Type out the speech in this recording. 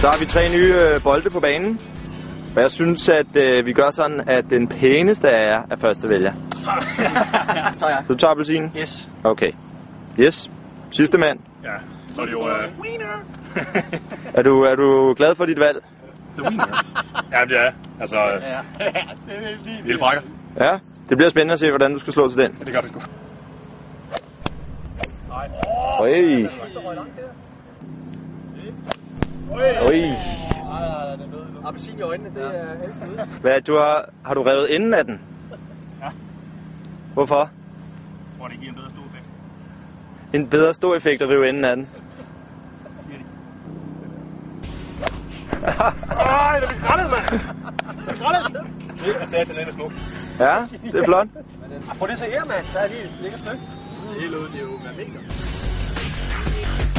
Så har vi tre nye øh, bolde på banen. Og jeg synes, at øh, vi gør sådan, at den pæneste af jer er første vælger. Tager jeg. Så du tager appelsinen? Yes. Okay. Yes. Sidste mand. Ja, så er det jo... Øh... Er du, er du glad for dit valg? ja, det er Altså, øh, Ja. lille frakker. Ja. Det bliver spændende at se, hvordan du skal slå til den. Det gør det sgu. Oj. Oj. Appelsin i øjnene, det er altid. Hvad, du har, har du revet enden af den? Ja. Hvorfor? Hvor det giver en bedre stor effekt. En bedre stor effekt at rive enden af den. Ej, det bliver skrællet, mand! Det er skrældet! Det er sat til nede med smukt. Ja, det er flot. Prøv det så her, mand. Der er lige et lækkert stykke. Det er jo, det er jo, man mener.